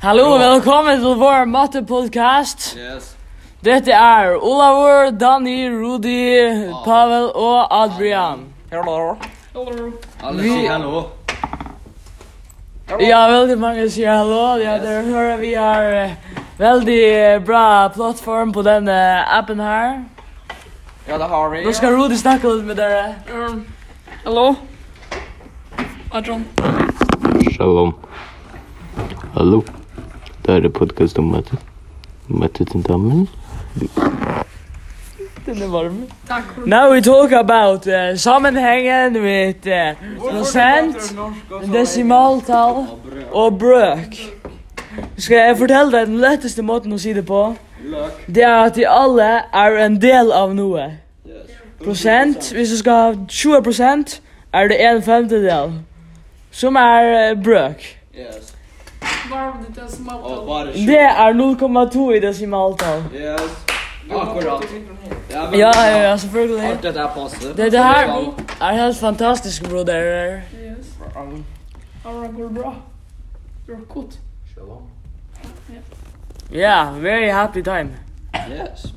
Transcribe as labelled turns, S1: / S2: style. S1: Hallo en welkom til vår mattepodkast.
S2: Yes.
S1: Dette er Olavur, Danny, Rudi, Pavel og Adrian.
S3: Hello.
S2: Alle
S1: Vi-
S2: sier hallo.
S1: Ja, veldig mange sier hallo. Ja, dere hører vi har eh, veldig eh, bra plattform på denne appen her.
S3: Ja, det har vi.
S1: Nå skal Rudi snakke litt med dere.
S4: Um, hallo? Adron.
S5: Shalom. Hallo. Det her er podkast om matte. Mattetentamen.
S1: Den er varm.
S4: Takk for
S1: Now Nou, we talk about eh, sammenhengen med eh, prosent, desimaltall og brøk. Skal jeg fortelle deg den letteste måten å si det på?
S2: Løk.
S1: Det er at de alle er en del av noe.
S2: Yes.
S1: Prosent, hvis du skal ha 20 prosent, er det en femtedel. Som er eh, brøk.
S2: Yes.
S4: Bare ditt er smalt.
S2: Og bare sju.
S1: Det er 0,2 i desimaltall.
S2: Yes. Akkurat. Ja, men-
S1: Ja, ja, ja, selvfølgelig.
S2: Alt dette er passe.
S1: Det, det her er helt fantastisk, broder.
S4: Yes. Adron går bra. You're good.
S1: Yeah, very happy time.
S2: Yes.